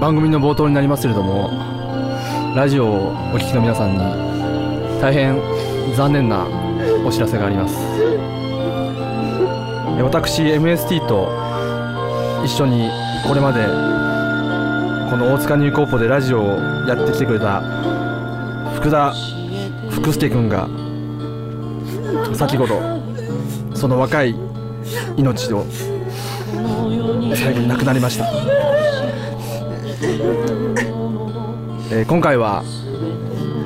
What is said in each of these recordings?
番組の冒頭になりますけれどもラジオをお聞きの皆さんに大変残念なお知らせがありますえ私 MST と一緒にこれまでこの大塚ニューコーポでラジオをやってきてくれた福田福助君が先ほどその若い命を最後に亡くなりました、えー今回は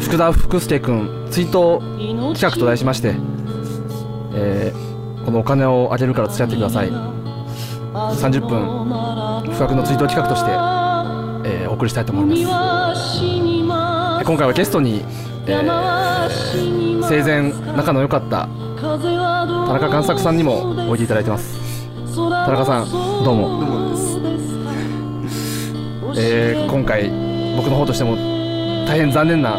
福田福助君追悼企画と題しまして、えーこのお金をあげるから付き合ってください30分不覚の追悼企画として、えーお送りしたいと思いますえ今回はゲストに、えー生前仲の良かった田中贋作さんにもおいでいただいてます田中さんどうもえー今回僕の方としても大変残念な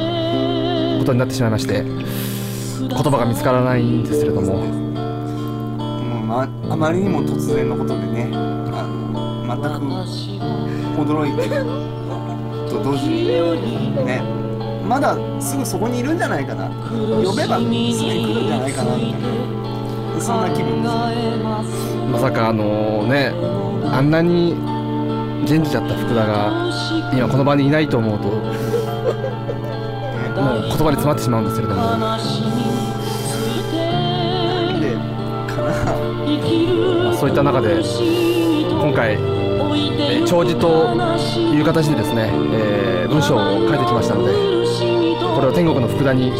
ことになってしまいまして言葉が見つからないんですけれどももうまあまりにも突然のことでねあの全く驚いてると同時にねまだすぐそこにいるんじゃないかな呼べばすぐに来るんじゃないかなみたいなそんな気分ですまさかあのねあんなに元気だった福田が今この場にいないと思うともう言葉に詰まってしまうんですけれどもまなんでかなあそういった中で今回、えー弔辞という形でですね、えー文章を書いてきましたのでこれを天国の福田に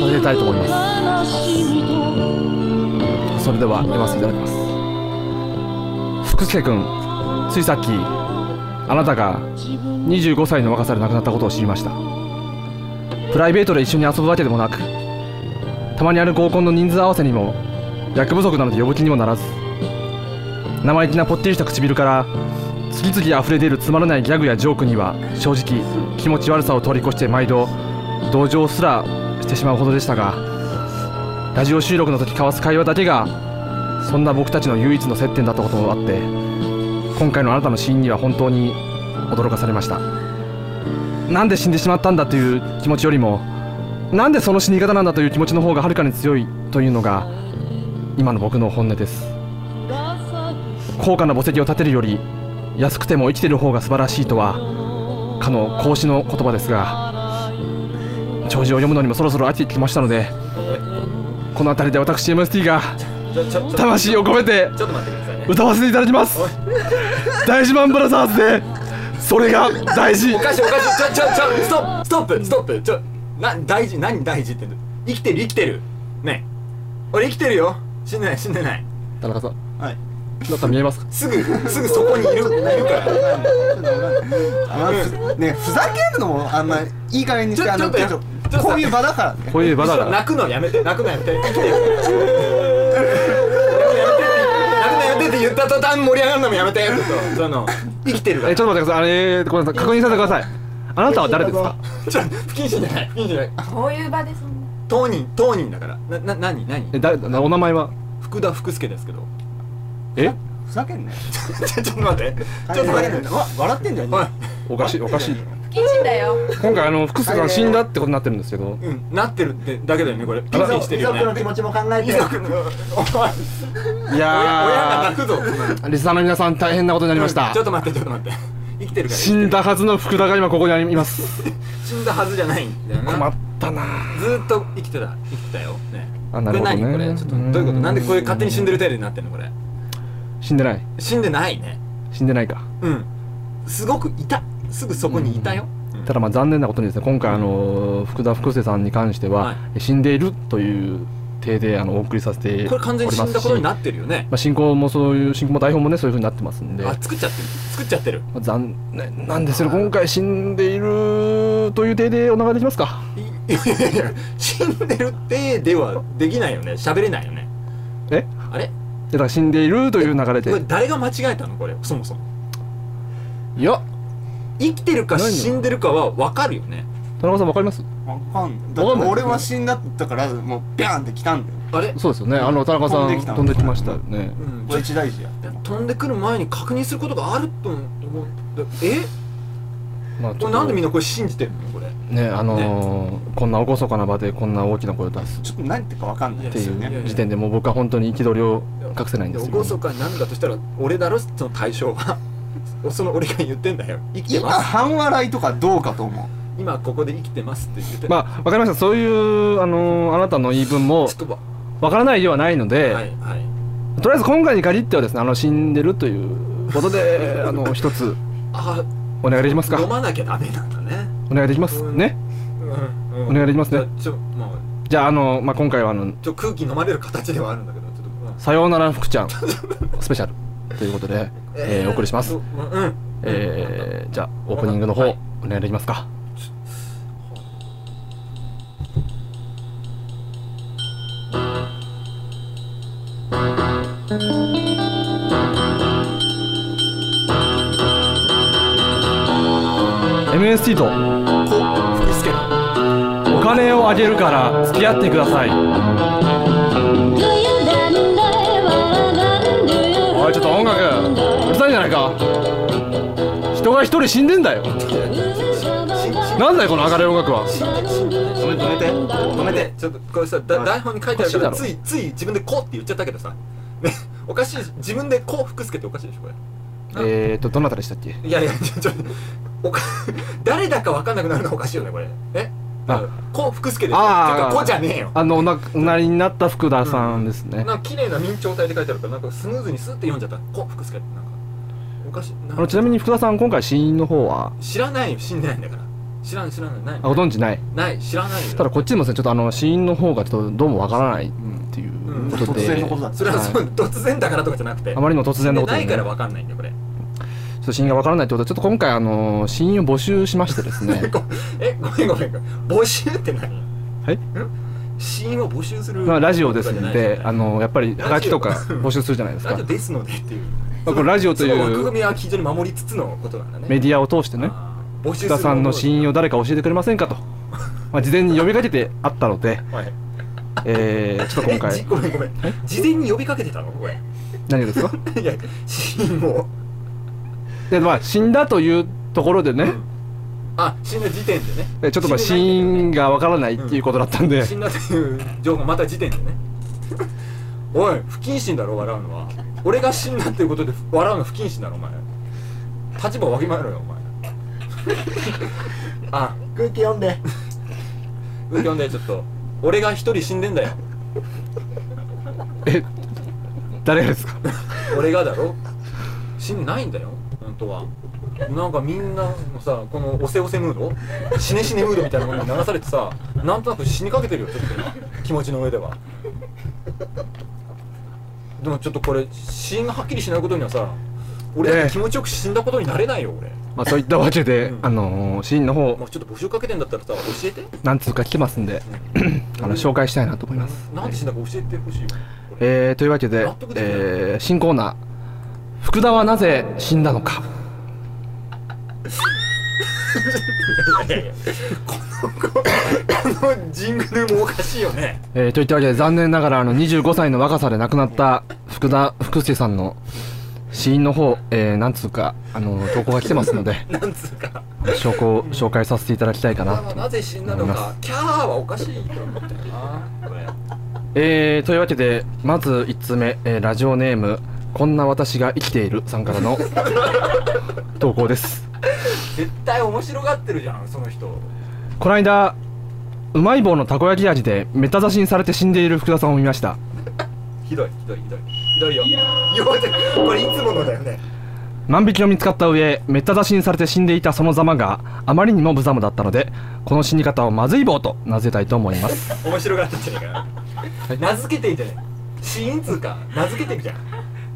させたいと思いますそれでは読ませていただきます福助君ついさっきあなたが25歳の若さで亡くなったことを知りましたプライベートで一緒に遊ぶわけでもなくたまにある合コンの人数合わせにも役不足なので呼ぶ気にもならず生意気なぽってりした唇から次々溢れ出るつまらないギャグやジョークには正直気持ち悪さを通り越して毎度同情すらしてしまうほどでしたがラジオ収録の時交わす会話だけがそんな僕たちの唯一の接点だったこともあって今回のあなたの死因には本当に驚かされましたなんで死んでしまったんだという気持ちよりもなんでその死に方なんだという気持ちの方がはるかに強いというのが今の僕の本音です高価な墓石を建てるより安くても生きてる方が素晴らしいとはかの孔子の言葉ですが弔辞を読むのにもそろそろ飽きてきましたのでこの辺りで私 MST が魂を込めて歌わせていただきます大事マンブラザーズでそれが大事おかしいおかしいちょちょちょストップストップストップちょな大事何大事って生きてる生きてるねえ俺生きてるよ死んでない死んでない田中さんはい田中さん見えますかすぐすぐそこにいるいるからあふねふざけんのもあんまりいい加減にしてちょあのちょっとちょっちとょっとこういう場だからねこういう場だから泣くのやめて泣くのやめて生きてる泣くのやめてって泣くのやめてって言った途端盛り上がるのもやめてちょっとその生きてるかえらちちょっと待ってくださいあれごめんなさい確認させてくださいあなたは誰ですかょ不謹慎じゃない不謹慎じゃないこういう場でそんな当人当人だからなな何何えだお名前は福田福助ですけどえふざけんなよちょちょっと待ってちょっと待ってわ笑ってんじゃんおいおかしいおかしい不謹慎だよ今回あの福助さん死んだってことになってるんですけどうん、なってるってだけだよねこれピンざチしてるよね気持ちも考え遺族のお前い親がや泣くぞーリスナーの皆さん大変なことになりましたちょっと待ってちょっと待って生きてるから死んだはずの福田が今ここにあります死んだはずじゃないんだよ困なったなずーっと生きてた生きてたよねあなるほどねこれ何これちょっとどういうことなんでこういう勝手に死んでる程度になってんのこれ死んでない死んでないね死んでないかうんすごくいたすぐそこにいたよ、うんただまあ残念なことにですね今回あの福田福助さんに関しては、は死んでいるという体であのお送りさせてこれ完全に死んだことにっなってるよねまあ、進行もそういう進行も台本もねそういうふうになってますんであ作っちゃってる作っちゃってるまあ残念なんですけど今回死んでいるという体でお願いできますかいい やいやいや死んでるってではできないよね喋れないよねえあれだから死んでいるという流れこれで誰が間違えたのこれそもそもいや生きてるか何よ死んでるかは分かるよね田中さんわかりますわかんない。だって俺は死んだって言ったから、もうビャーンって来たんだよ。あれ、そうですよねあの田中さん飛飛んでんできたきましたねうん、これ一大事や。飛んでくる前に確認することがあると思うんだえまあちこょっれなんでみんとなこれ信じてるのこれねあのーこんな厳かな場でこんな大きな声を出すちょっと何言ってるかわかんないってですよいやねいう時点でもう僕は本当に憤りを隠せないんですよ厳かになるんだとしたら俺だろその対 象はその俺が言ってんだよ生きて今ます半笑いとかどうかと思う今ここで生きてますって言ってまあわかりましたそういうあのーあなたの言い分もちょっとばわからないではないので、はいはいとりあえず今回に限ってはですねあの死んでるということであの一つあお願いできます飲かまなきゃダメなんだねお願いできますうんねうん、お願いできますねじゃあちょもうじゃああの、まあ、今回はあのちょ空気飲まれる形ではあるんだけどちょっと、う「んさようなら福ちゃん」スペシャルということで、えーお送りしますう、んうんえー、じゃあオープニングの方、はいお願いできますかMST と福助お金をあげるから付き合ってくださいおいちょっと音楽うるさいじゃないか人が一人死んでんだよなんだよこの明るい音楽は止めて止めて止めてちょっとこれさだ台本に書いてあるけおどかしいだろついつい自分でこうって言っちゃったけどさねおかしい自分でこう福助っておかしいでしょこれえーとどなたでしたっけいやいやちょちょおか 誰だか分かんなくなるのはおかしいよねこれえあこう福助でしょちあーょっとこうじゃねえよあのお亡くなりになった福田さんですね、なんか綺麗な明朝体で書いてあるからなんかスムーズにスって読んじゃったこう福助ってなんかおかしいあのちなみに福田さん今回死因の方は知らないよ死んでないんだから知らん知らないないあご存知ないない知らないよただこっちでもですねちょっとあの死因の方がちょっとどうもわからないっうんていんうこと突で、然のことだそれはそう、突然だからとかじゃなくてあまりの突然のことででなねいから分かんないんだよこれちょっと死因がわからないってことでちょっと今回あの死因を募集しましてです ねごえごめんごめんごめん募集って何はいんシーンを募集するまあラジオですので、あののやっぱりハガキとか募集するじゃないです ラかジオ。ですのでっていうまあこれラジオというその枠組みは非常に守りつつのことなんだねメディアを通してね、あー募集す福る田さんの死因を誰か教えてくれませんか と、まあ事前に呼びかけてあったので、はい えー、ちょっと今え回じごめんごめん事前に呼びかけてたのこれ何がですか？ いやシーンをでまあ死んだというところでね、あ死んだ時点でねえちょっとまあ死因がわからないっていうことだったんで、死んだという情報また時点でねおい不謹慎だろ笑うのは俺が死んだっていうことで笑うの不謹慎だろお前立場をわきまえろよお前 あ空気読んで右京でちょっと俺が一人死んでんだよえ誰がですか？俺がだろ死んでないんだよ本当はなんかみんなのさこのおせおせムード死ね死ねムードみたいなものに流されてさなんとなく死にかけてるよちょっと今気持ちの上ではでもちょっとこれ死因がはっきりしないことにはさ俺だえけえ気持ちよく死んだことになれないよ俺まあそういったわけで、うんあのー、死因の方もうちょっと募集かけてんだったらさ教えて何通か来てますんで、 あの紹介したいなと思います。なんで死んだか教えてほしいよこれえー、というわけで納得、できないえー、新コーナー「福田はなぜ死んだのかいやいやこのこのジングルもおかしいよね」えー、といったわけで残念ながらあの25歳の若さで亡くなった福田福助さんの死因の方、えー、なんつうかあの投稿が来てますので なんつうか証拠を紹介させていただきたいかなとなぜ死んだのかキャーはおかしいと思ったよなこれえー、というわけでまず1つ目、えーラジオネーム「こんな私が生きている」さんから の投稿です絶対面白がってるじゃんその人この間うまい棒のたこ焼き味でメタ刺しにされて死んでいる福田さんを見ましたひどいひどいひどいひどいよよでこれいつものだよね万引きを見つかった上めった刺しにされて死んでいたそのざまがあまりにも無様だったのでこの死に方をまずい棒と名付けたいと思います面白がってんじゃねえかよ名付けてんじゃねえ死因つうか名付けてんじゃん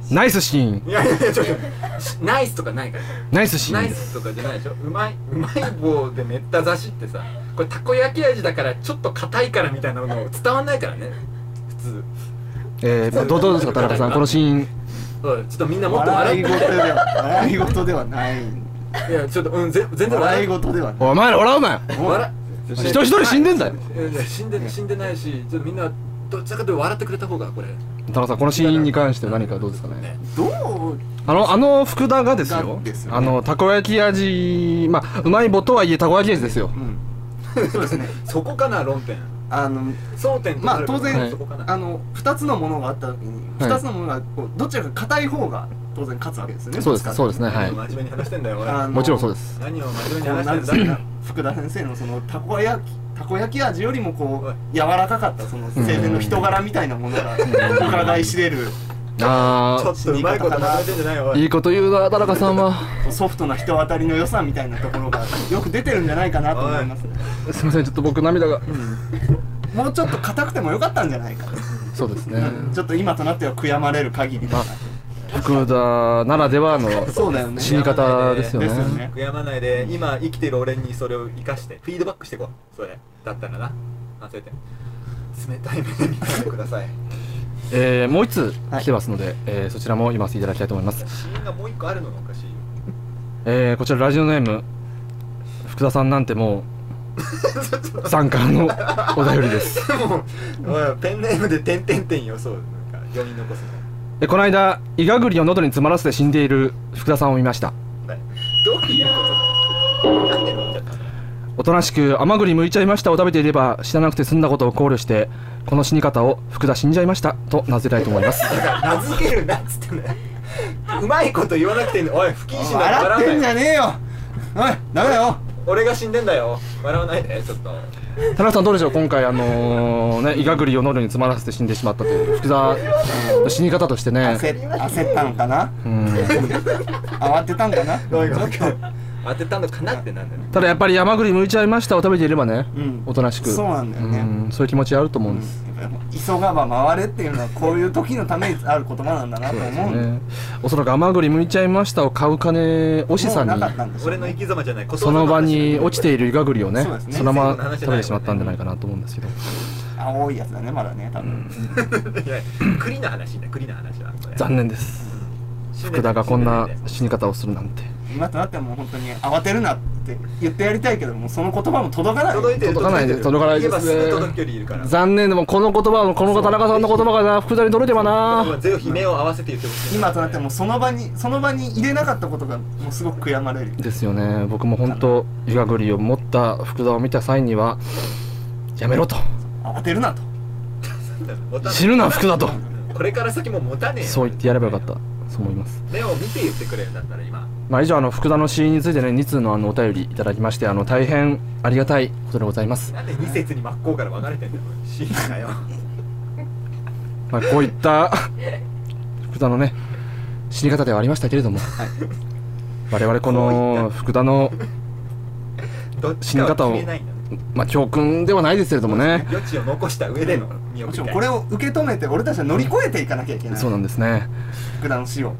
ナイスシーンいやいやいやちょっとしナイスとかないからナイスシナーンイですスとかじゃないでしょうまいうまい棒でめった刺しってさこれたこ焼き味だからちょっと硬いからみたいなの伝わんないからね普通えー、まあどうどうですか田中さんこのシーンおいちょっとみんなもっと笑笑いって事では笑い事ではないいやちょっとうんぜ全然笑笑いい事ではないお前ら笑うなよ笑人一人死んでんだよいやいや死んで死んでないしちょっとみんなどちらかというと笑ってくれた方がこれ田中さんこのシーンに関しては何かどうですかねねどうあのあの福田がですよがですよねあのたこ焼き味まあうまい棒とはいえたこ焼き味ですようんそうですねそこかな論点あの争点とまあなる当は然いそこかなあの2つのものがあった時にはい2つのものがこうどちらか硬い方が当然勝つわけですよねそうですそうでですねはい何を真面目に話してんだよ俺あのもちろんそうです何を真面目にこうなん話でしすかてんねだ福田先生のそのたこ焼きたこ焼き味よりもこはいう柔らかかったその生前の人柄みたいなものが伺い知れるあちょっとうまいこと話してんじゃないよおあいいいこと言うな田中さん はソフトな人当たりの良さみたいなところ がよく出てるんじゃないかなと思いますねすみませんちょっと僕涙がもうちょっと硬くてもよかったんじゃないかそうですねちょっと今となっては悔やまれる限りだな福田ならではのそうだよね死に方ですよねですよね悔やまないで今生きてる俺にそれを生かしてフィードバックしてこうそれだったらな忘れて冷たい目で見ないでくださいえーもう一つ来てますので、えーそちらも読ませていただきたいと思いますシーンがもう一個あるのがおかしいよえーこちらラジオネーム福田さんなんてもうさんからのお便りですもうお いペンネームで点々点よそうなんか読み残すえこの間イガグリを喉に詰まらせて死んでいる福田さんを見ましたのねどういうことなんで飲んじゃったのおとなしく「甘栗剥いちゃいました」を食べていれば死ななくて済んだことを考慮してこの死に方を「福田死んじゃいました」と名付けたいと思い ます名付けるなっつってねうまいこと言わなくていいのおい不謹慎だから笑ってんじゃ笑うなよねえよおいダメだよ俺が死んでんだよ笑わないでちょっと田中さんどうでしょう今回あのねイガグリを喉に詰まらせて死んでしまったという福田の死に方としてね焦焦ったんかなうん慌てたんかなどういうこと当てたのかなってなんだよただやっぱり「甘栗剥いちゃいました」を食べていればね、うんおとなしくそうなんだよねうんそういう気持ちあると思うんです、急がば回れっていうのはこういう時のためにある言葉なんだなと思うんだよねおそらく甘栗剥いちゃいましたを買う金おしさんもうになかったんでしょう俺の生き様じゃ ないその場に落ちているイガグリをねそうですねそのまま全食部の話じゃべないもんねてしまったんじゃないかなと思うんですけど青いやつだねまだね多分いや栗の話ね栗の話はそれ残念です死んで福た田がこんな死死に方をするなんて今となってはもう本当に慌てるなって言ってやりたいけどもその言葉も届かないんでたよ届かないです届かない届かないですね言えばすぐ届くよりいるから残念でもこの言葉のこの田中さんの言葉がな福田に届れてばなぜひ目を合わせて言ってほしい今となってはもうその場にその場に入れなかったことがもうすごく悔やまれるですよね僕も本当イガグリを持った福田を見た際にはやめろと慌てるなと持たない死ぬな福田とこれから先も持たねえよそう言ってやればよかったそう思います目を見て言ってくれよだったら今まあ、以上あの福田の死因についてね2通のあのお便りいただきましてあの大変ありがたいことでございます、なんで二節に真っ向から分かれてんだよシー ンがよまあ、こういった 福田のね死に方ではありましたけれども、我々この福田の、どっちかは決めないんだねまあ、教訓ではないですけれどもね余地を残した上での身をも見ちたろんいこれを受け止めて俺たちは乗り越えていかなきゃいけないそうなんですね福田の死を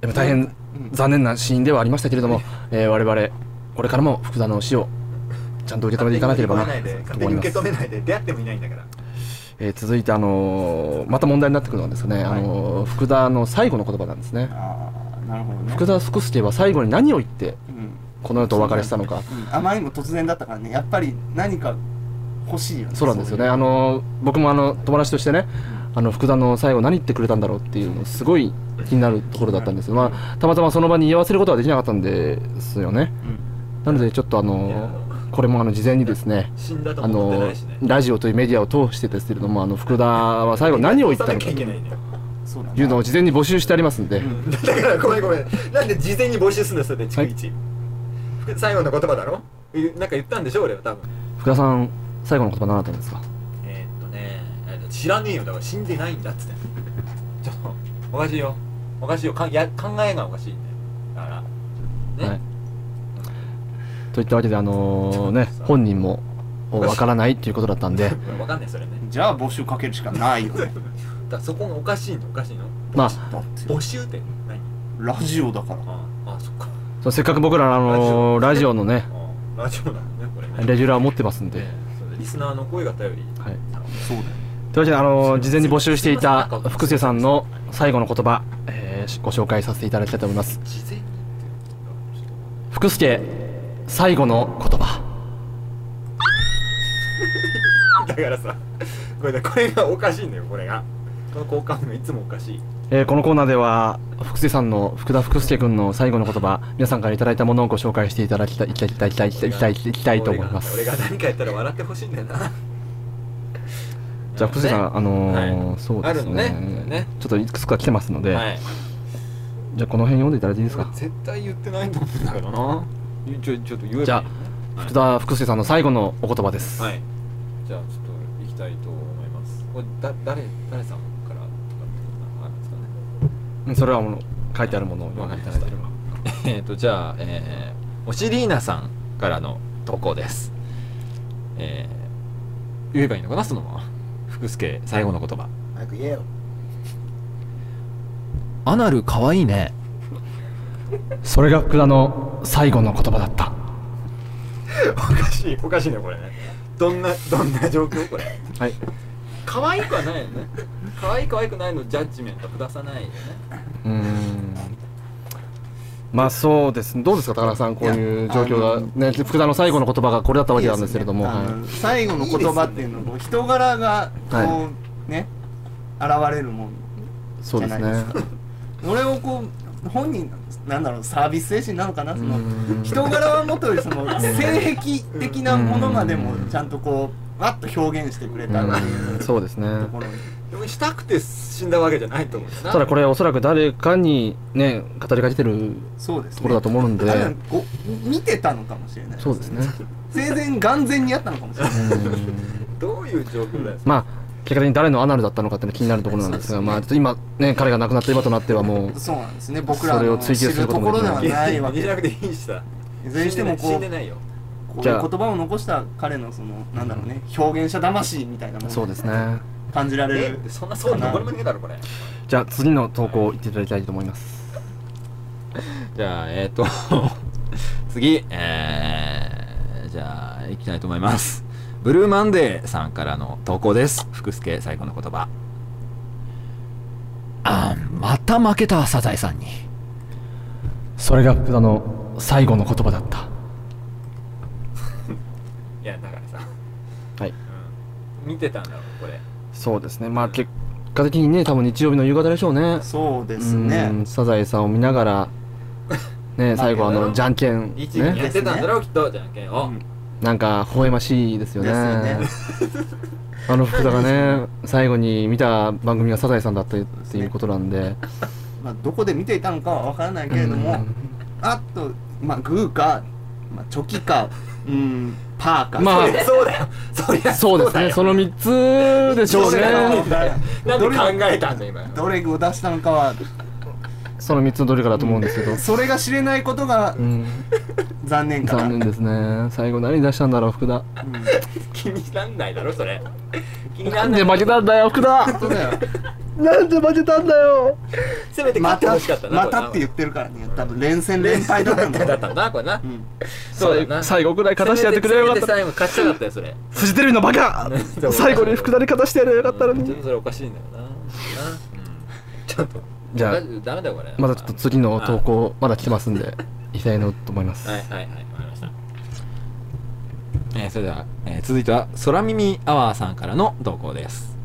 でも大変残念な死因ではありましたけれども、えー我々これからも福田の死をちゃんと受け止めていかなければな勝手に受け止めないでと思います勝手に受け止めないで出会ってもいないんだからえー続いてあのーまた問題になってくるのはですね、あのー福田の最後の言葉なんですねああなるほどね福田福助は最後に何を言ってうんこの世とお別れしたのかうんあまりにも突然だったからねやっぱり何か欲しいよねそうなんですよねそういうあの僕もあの友達としてねあの福田の最後何言ってくれたんだろうっていうのすごい気になるところだったんですまあたまたまその場に居合わせることはできなかったんですよねなのでちょっとあのこれもあの事前にですね死んだとあ思ってなのいしねラジオというメディアを通してですけれどもあの福田は最後何を言ったのか残さなきゃといけないねそうだねいうのを事前に募集してありますんでだからごめんごめんなんで事前に募集するんだよそれで逐一、最後の言葉だろえなんか言ったんでしょ俺は多分福田さん最後の言葉何だったんですかえーっとねえーっと知らねえよだから死んでないんだっ つってちょっとおかしいよおかしいよかや考えがおかしいんだよだからね、はい、といったわけであのね本人もわからないっていうことだったん でわかんないそれねじゃあ募集かけるしかない よねだからそこがおかしいのおかしいのまあだって募集って何ラジオだからああそっかそうせっかく僕らあのラジオのねあラジオなのねこれねレギュラーを持ってますんで、ええそうだリスナーの声が頼りはい、そうだよというわけであの事前に募集していた福瀬さんの最後の言葉、えーしご紹介させていただきたいと思います事前に福助最後の言葉だからさこれねこれがおかしいんだよこれがこの交換がいつもおかしいえーこのコーナーでは福助さんの福田福助君の最後の言葉皆さんからいただいたものをご紹介していただきたいいきたいいきたいいきたいいきたいいきたいいきたいと思います俺が俺が何かやったら笑ってほしいんだよなじゃあ福助さん、あのーはいそうですあるのねねねちょっといくつか来てますので、はいじゃあこの辺読んでいただいていいですか俺絶対言ってないと思うんだけどなちょちょっと言えばいいのにじゃあ福田福助さんの最後のお言葉です、はいじゃあちょっと行きたいと思いますこれだ誰誰さんからとかってなんかあるんですかねうんそれはもの書いてあるものを読んでいただいてるえっとじゃあ、えー、おしりーなさんからの投稿です。えー、言えばいいのかなそのまま。福助最後の言葉。早く言えよアナルかわいいね。それが福田の最後の言葉だったおかしいおかしいねこれねどんなどんな状況これはい可愛くはないよね可愛い可愛くないのジャッジメント下さないよねうーんまあそうですねどうですか高田さんこういう状況がね福田の最後の言葉がこれだったわけなんですけれどもあはの最後の言葉っていうのも人柄がこう、はね現れるもんいそうですじゃなねいです俺をこう本人なんだろうサービス精神なのかなそのうん人柄はもとよりその性癖的なものまでもちゃんとこうわっと表現してくれたっていううんそうですねところにでもしたくて死んだわけじゃないと思うよなただこれおそらく誰かにね語りかけてるそうですねところだと思うんで多分こう見てたのかもしれないそうですね生前眼前にあったのかもしれないうんどういう状況だよまあ結果的に誰のアナルだったのかっていうのが気になるところなんですがまあちょっと今ね彼が亡くなった今となってはもうそうなんですね僕らそれをの追知求するることとこもろできなでいはないわ気けにでしなくていいしさいずれにしてもこ死うんでないよこうじいゃうあ言葉を残した彼のそのなんだろうね表現者魂みたいなものそうですね感じられえるそんなそう残りもねえだろこれじゃあ次の投稿いっていただきたいと思いますじゃあえっ、と 次えー、じゃあ行きたいと思います。ブルーマンデーさんからの投稿です。福助最後の言葉。あんまた負けたサザエさんに。それが福田の最後の言葉だったいやだからさはい見てたんだろうこれそうですねまあ結果的にね多分日曜日の夕方でしょうねそうでですねサザエさんを見ながらね あ最後あけどのなじゃんけん一撃やねってたんだろうきっとじゃんけんをうんなんか微笑ましいですよねですよねあの福田がね最後に見た番組がサザエさんだったっていうことなんでまあどこで見ていたのかは分からないけれどうもんあっとまあグーかまあチョキかうんパーかまあそれそうだよそりゃそうですだよねその3つでしょうそうだよねなんで考えたんだ今どれを出したのかはその3つのどれかだと思うんですけどそれが知れないことがうん残念かな残念ですね最後何出したんだろう福田うん気になんないだろそれ気にななんんないで負けたんだよ福田そうだよ なんで負けたんだよせめてま勝ってたほしかったなまたって言うってるからね多分連戦連敗 だったんだだよったんだこれなうんそうだな最後くらい勝たしてやってくれよかったせめて最後勝ちたかったよそれフジテレビのバカ最後に福田に勝たしてやればよかったのちょっにとそれおかしいんだよななうんちょっとじゃあダメだよこれまだちょっと次の投稿まだ来てますんで 行きたいなと思いますはいはいはいわかりましたえーそれでは、えー続いては空耳アワーさんからの投稿です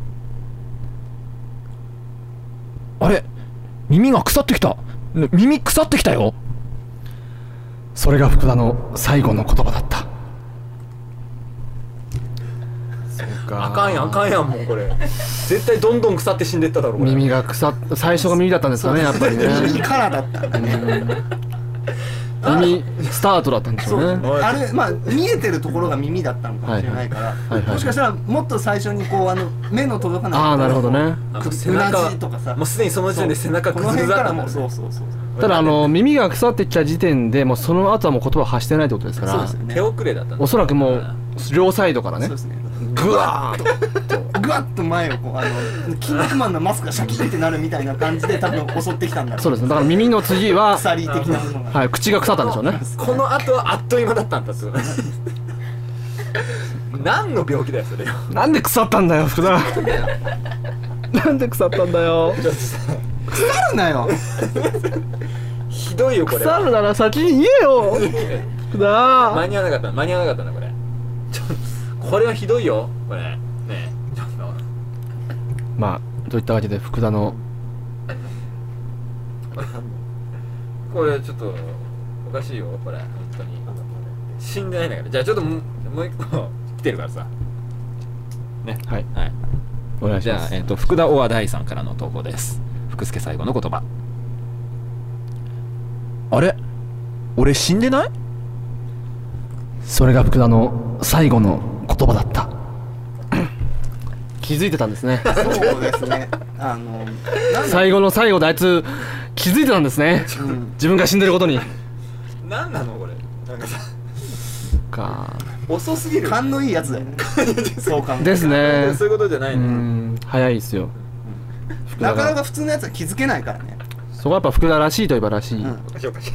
あれ耳が腐ってきた耳腐ってきたよそれが福田の最後の言葉だったそうかあかんやんあかんやんもうこれ絶対どんどん腐って死んでっただろこれ耳が腐っ最初が耳だったんですかねやっぱりねいいからだったんだね うん耳スタートだったんでしょうねあれまあ見えてるところが耳だったのかもしれないから、いはいもしかしたらもっと最初にこうあの目の届かないああなるほどねあもうく背中うなじとかさもうすでにその時点で背中こくずのくず辺かだったらんだもうそうそうそうただあの耳が腐ってきた時点でもうその後はもう言葉を発してないってことですかそうでらすよね手遅れだったんだおそらくもう両サイドからそうねですねグワーッとぐわっと前をこうあのキン肉マンのマスクがシャキッてなるみたいな感じで多分襲ってきたんだろそうですねだから耳の次は、鎖的なものがはい、口が腐ったんでしょうねこの後はあっという間だったん だってこと何の病気だよそれなんで腐ったんだよ 福田なんで腐ったんだよあるなよひどいよこれ腐るなら先に言えよ福田間に合わなかった間に合わなかったなこれちょっとこれはひどいよこれねえちょっとまあといったわけで福田のこれちょっとおかしいよこれ本当に死んでないんだからじゃあちょっともうもう一 個来てるからさはいはいお願いしじまゃあ、すえっと福田オア大さんからの投稿です福助最後の言葉あれ俺死んでないそれが福田の最後の言葉だった 気づいてたんですねそうですね。あの、最後の最後であいつ気づいてたんですねうん、自分が死んでることに何なのこれなんかさか遅すぎる勘のいいやつだよね。そう考えですねそういうことじゃなういねん早いですよ福な田かながか普通のやつは気づけないからね。そこはやっぱ福田らしいといえばらしい、うんおかしい おかしい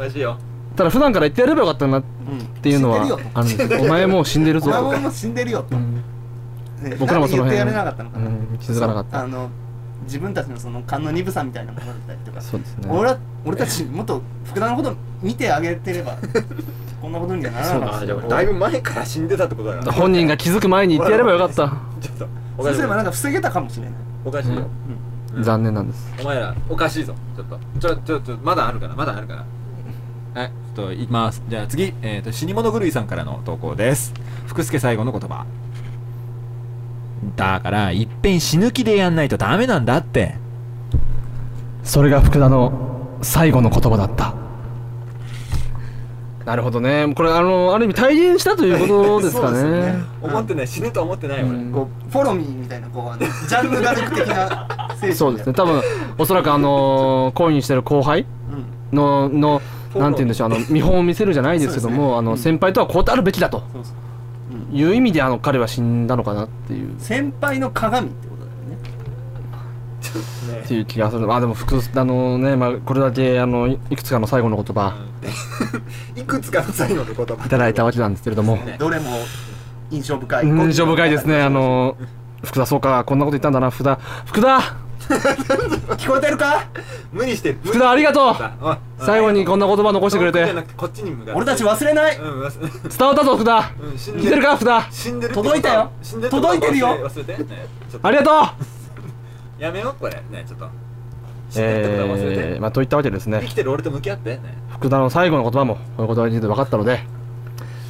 おかしいよただ普段から言ってやればよかったなっうん。っていうのは死んでるよ。あるんですよお前もう死んでるおぞ前ともか、もう死んでるよと。うんね僕らもそのなんで言っ辺てやれなかったのかな。うん気づかなかったそうあの、自分たちのその勘の鈍さみたいなものだったりとか。そうですね俺ら俺たちもっと福田のこと見てあげてれば こんなことにはならなかったあしじゃあだいぶ前から死んでたってことだな本人が気づく前に言ってやればよかったちょっとおそかうしすいればなんか防げたかもしれないおかしいようん残念なんですお前らおかしいぞちょっとちょちょちょまだあるからまだあるからはいちょっといきますじゃあ次、えっと死に物狂いさんからの投稿です福助最後の言葉だからいっぺん死ぬ気でやんないとダメなんだってそれが福田の最後の言葉だったなるほどねこれあのある意味体現したということですかねそうですよね思ってない死ぬとは思ってない俺うんこうフォロミーみたいなこうあのジャンヌ・ダルク的な精神そうですね多分おそらくあの恋にしてる後輩うんののなんて言うんでしょうあの見本を見せるじゃないですけども、そうですねあうのん先輩とはこうであるべきだとそうそううんいう意味であの彼は死んだのかなっていう先輩の鏡ってことだよねっていう気がするまあでも複数あのね、まあ、これだけあのいいくつかの最後の言葉いくつかの最後の言葉いただいたわけなんですけれどもどれも印象深い印象深いですねあの福田そうかこんなこと言ったんだな福田福田聞こえてるか無理してる福田ありがとうおい最後にこんな言葉残してくれてじゃなくこっちに向かって俺たち忘れないうん忘れ伝わったぞ福田うん死ん聞でいてるか福田死んでるってこと届いたよ死んでってこと届いてるよ忘れ忘れてねちょっとありがとうやめようこれねちょっと死んでってことは忘れえてー、まあといったわけです生ねきてる俺と向き合ってね福田の最後の言葉もこういうことについて分かったので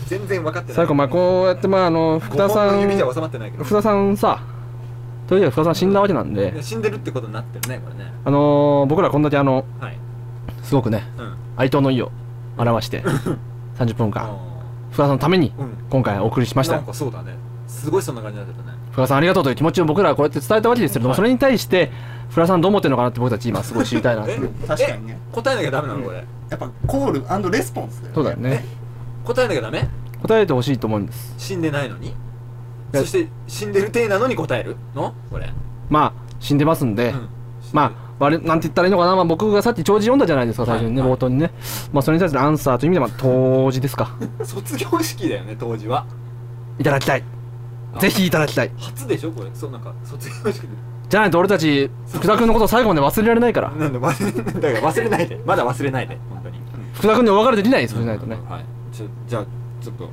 全然分かってない最後まあこうやってまああの福田五さ本のん指じゃ収まってないけど福田さんさというわけで福田さん死んだわけなんでいや死んでるってことになってるねこれねあのー、僕らこんだけあのはいすごくねうん哀悼の意を表 して30分間あ福田さんのためにーうん今回お送りしましたなんかそうだねすごいそんな感じになってたね福田さんありがとうという気持ちを僕らはこうやって伝えたわけですけれども、はいそれに対して福田さんどう思ってるのかなって僕た ち今すごい知りたいなえ確かにねえ答えなきゃダメなのこれやっぱコールレスポンスだよそうだよね答えなきゃダメ答えてほしいと思うんです死んでないのにやそして死んでる体なのに答えるのこれまあ死んでますんで、うんまあ我々なんて言ったらいいのかな、まあ、僕がさっき弔辞読んだじゃないですか最初にね、はいは冒頭にね、まあ、それに対するアンサーという意味では当時ですか卒業式だよね当時はいただきたいあぜひいただきたい初でしょこれそうなんか卒業式でじゃないと俺たち福田君のことを最後まで忘れられないからなんで忘れ だから忘れないでまだ忘れないで本当に福田君にお別れできないですそうしないとねはいちょじゃあちょっと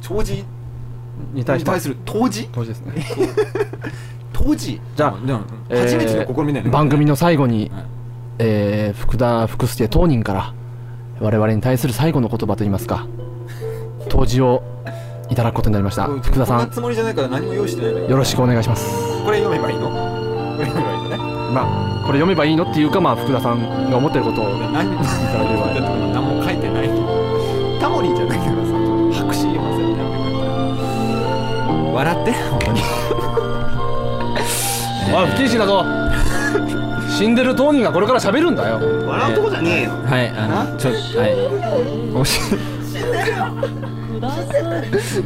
長辞に対して対する当時当時ですね当時じゃあうんうんえー 初めての試みだよね番組の最後に、はいえー福田福助当人から我々に対する最後の言葉といいますか当時をいただくことになりましたうん福田さこんなんつもりじゃないから何も用意してないんだけどよろしくお願いしますこれ読めばいいのこれ読めばいいのねまあこれ読めばいいのっていうかまあ福田さんが思ってることをこれ何もいただければ何も書いてないタモリーじゃないからさ白紙読ませるのやめてくれ笑って本当におい不謹慎だ ぞ死んでる当人がこれから喋るんだよ笑うとこじゃねえよはいあのちょはいもし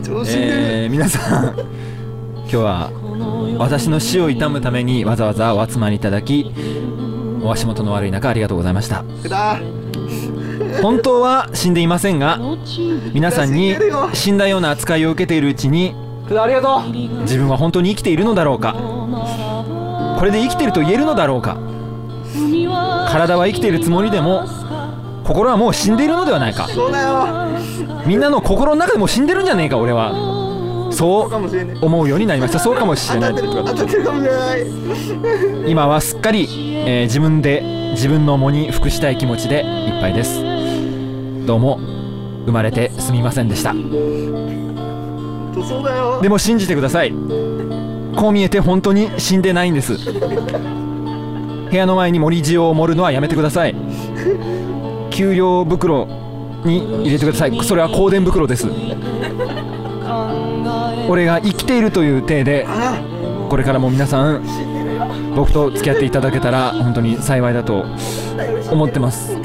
調子でえー、皆さん今日は私の死を悼むためにわざわざお集まりいただきお足元の悪い中ありがとうございました福田本当は死んでいませんが皆さんに死んだような扱いを受けているうちに福田ありがとう自分は本当に生きているのだろうかこれで生きていると言えるのだろうか体は生きているつもりでも心はもう死んでいるのではないかそうだよみんなの心の中でも死んでるんじゃねえか俺はそかもしれないう思うようになりましたそうかもしれ当なたいってる当たってるかもしれない今はすっかり、えー自分で自分の藻に服したい気持ちでいっぱいですどうも生まれてすみませんでしたとそうだよでも信じてくださいこう見えて本当に死んでないんです部屋の前に森塩を盛るのはやめてください給料袋に入れてくださいそれは香典袋 です俺が生きているという体でこれからも皆さん僕と付き合っていただけたら本当に幸いだと思ってます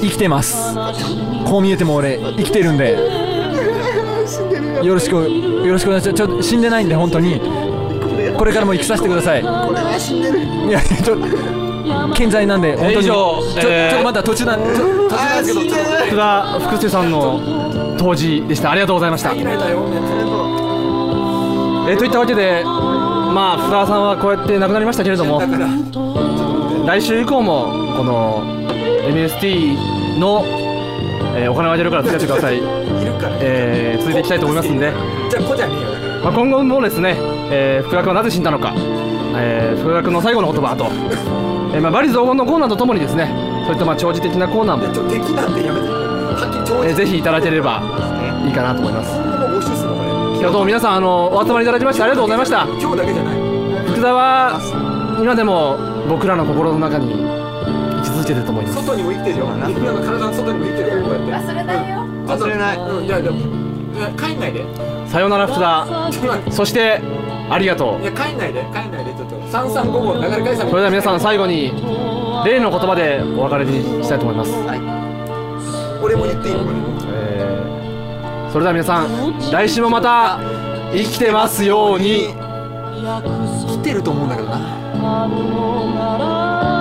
生きてますこう見えても俺生きてるんでよろしくよろしくお願いしますちょっと死んでないんで本当にこれからも生きさせてくださいこれは死んでるいやちょっと健在なんで本当に以ちょ上ちょえーっとまだ途中なんでちょ途中なんですけどちょっと福田福助さんの当時でしたありがとうございましたえーといったわけでまあ福田さんはこうやって亡くなりましたけれども来週以降もこの MST の、えーお金をあげるから付き合ってください、いるからえー続いていきたいと思いますんで、じゃあ子じゃねえよだからまあ、今後もですね、えー福田君はなぜ死んだのか、えー福田君の最後の言葉と、えーまあ、バリ雑言のコーナーとともにですねそういったまあ長寿的なコーナーもちょっと敵なんてやめてはっきり長えー寿ぜひいただければいいかなと思います。もう募集するのこれいやどうも皆さんあのお集まりいただきましてありがとうございました。今日だけじゃない福田は今でも僕らの心の中に位置づけてると思います。外にも生きてるよみんなの体の外にも生きてるよこうやって忘れないよ。忘れないうんじゃあでもいや帰んないでさよなら福田。ちょっと待ってそしてありがといや帰んないで帰んないでちょっと三三五五流れ解散う。それでは皆さん最後に例の言葉でお別れにしたいと思います。俺も言っていいのこれえーそれでは皆さん来週もまた生きてますように。来てると思うんだけどなあるのなら